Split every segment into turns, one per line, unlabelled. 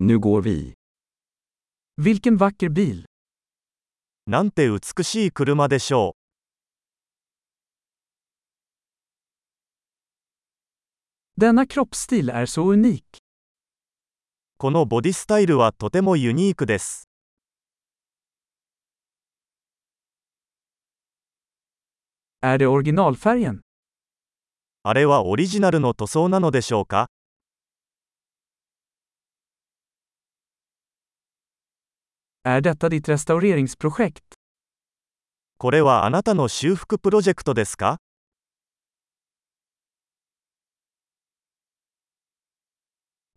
Nu går vi.
Vilken vacker bil!
なんて美しい車でしょ
Denna kroppsstil är så unik.
う。このボディスタイルはとてもユニークです。
Är det originalfärgen?
あれはオリジナルの塗装なのでしょうか
Är detta ditt restaureringsprojekt?
これはあなたの修復プロジェクトですか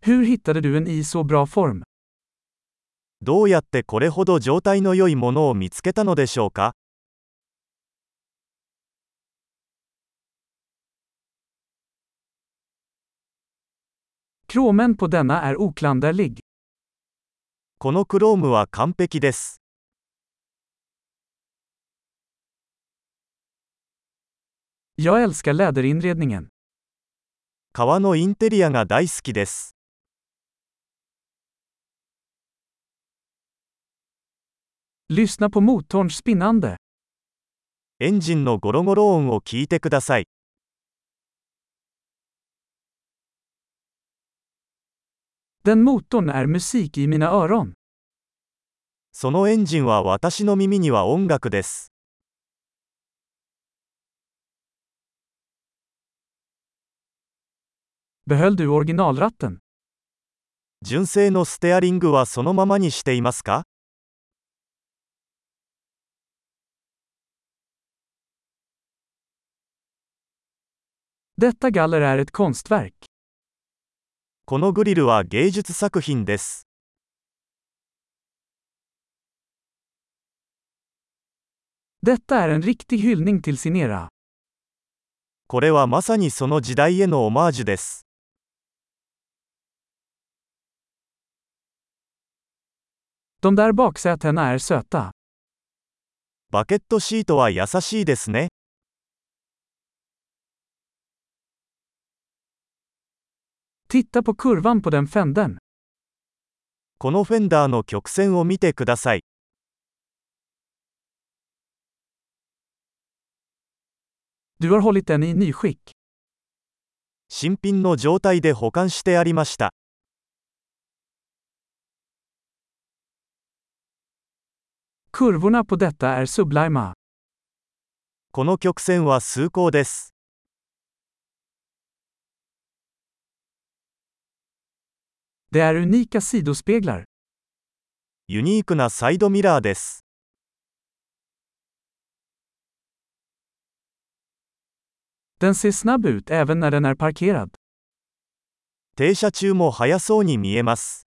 Hur hittade du en i så bra form?
どうやってこれほど状態の良いものを見つけたのでしょうか
Kromen på denna är oklanderlig.
このクロームは完璧です。
Jag älskar läderinredningen.
革のインテリアが大好きです。
Lyssna på motorns spinnande.
エンジンのゴロゴロ音を聞いてください。
Den motorn är musik i mina öron.
そのエンジンは私の耳には音楽です。
Behöll du originalratten?
純正のステアリングはそのままにしていますか
Detta galler är ett konstverk.
このグリルは芸術作品です。
Detta är en riktig hyllning till sin era.
これはまさにその時代へのオマージュです。
De där baksätena är söta.
バケットシートは優しいですね。
Titta på kurvan på den fändern.
このフェンダーの曲線を見てください。
Du har hållit den i nyskick.
新品の状態で保管してありました。
Kurvorna på detta är sublima.
この曲線は崇高です。
Det är unika sidospeglar.
ユニークなサイドミラーです。
Den ser snabb ut även när den är parkerad.
停車中も速そうに見えます。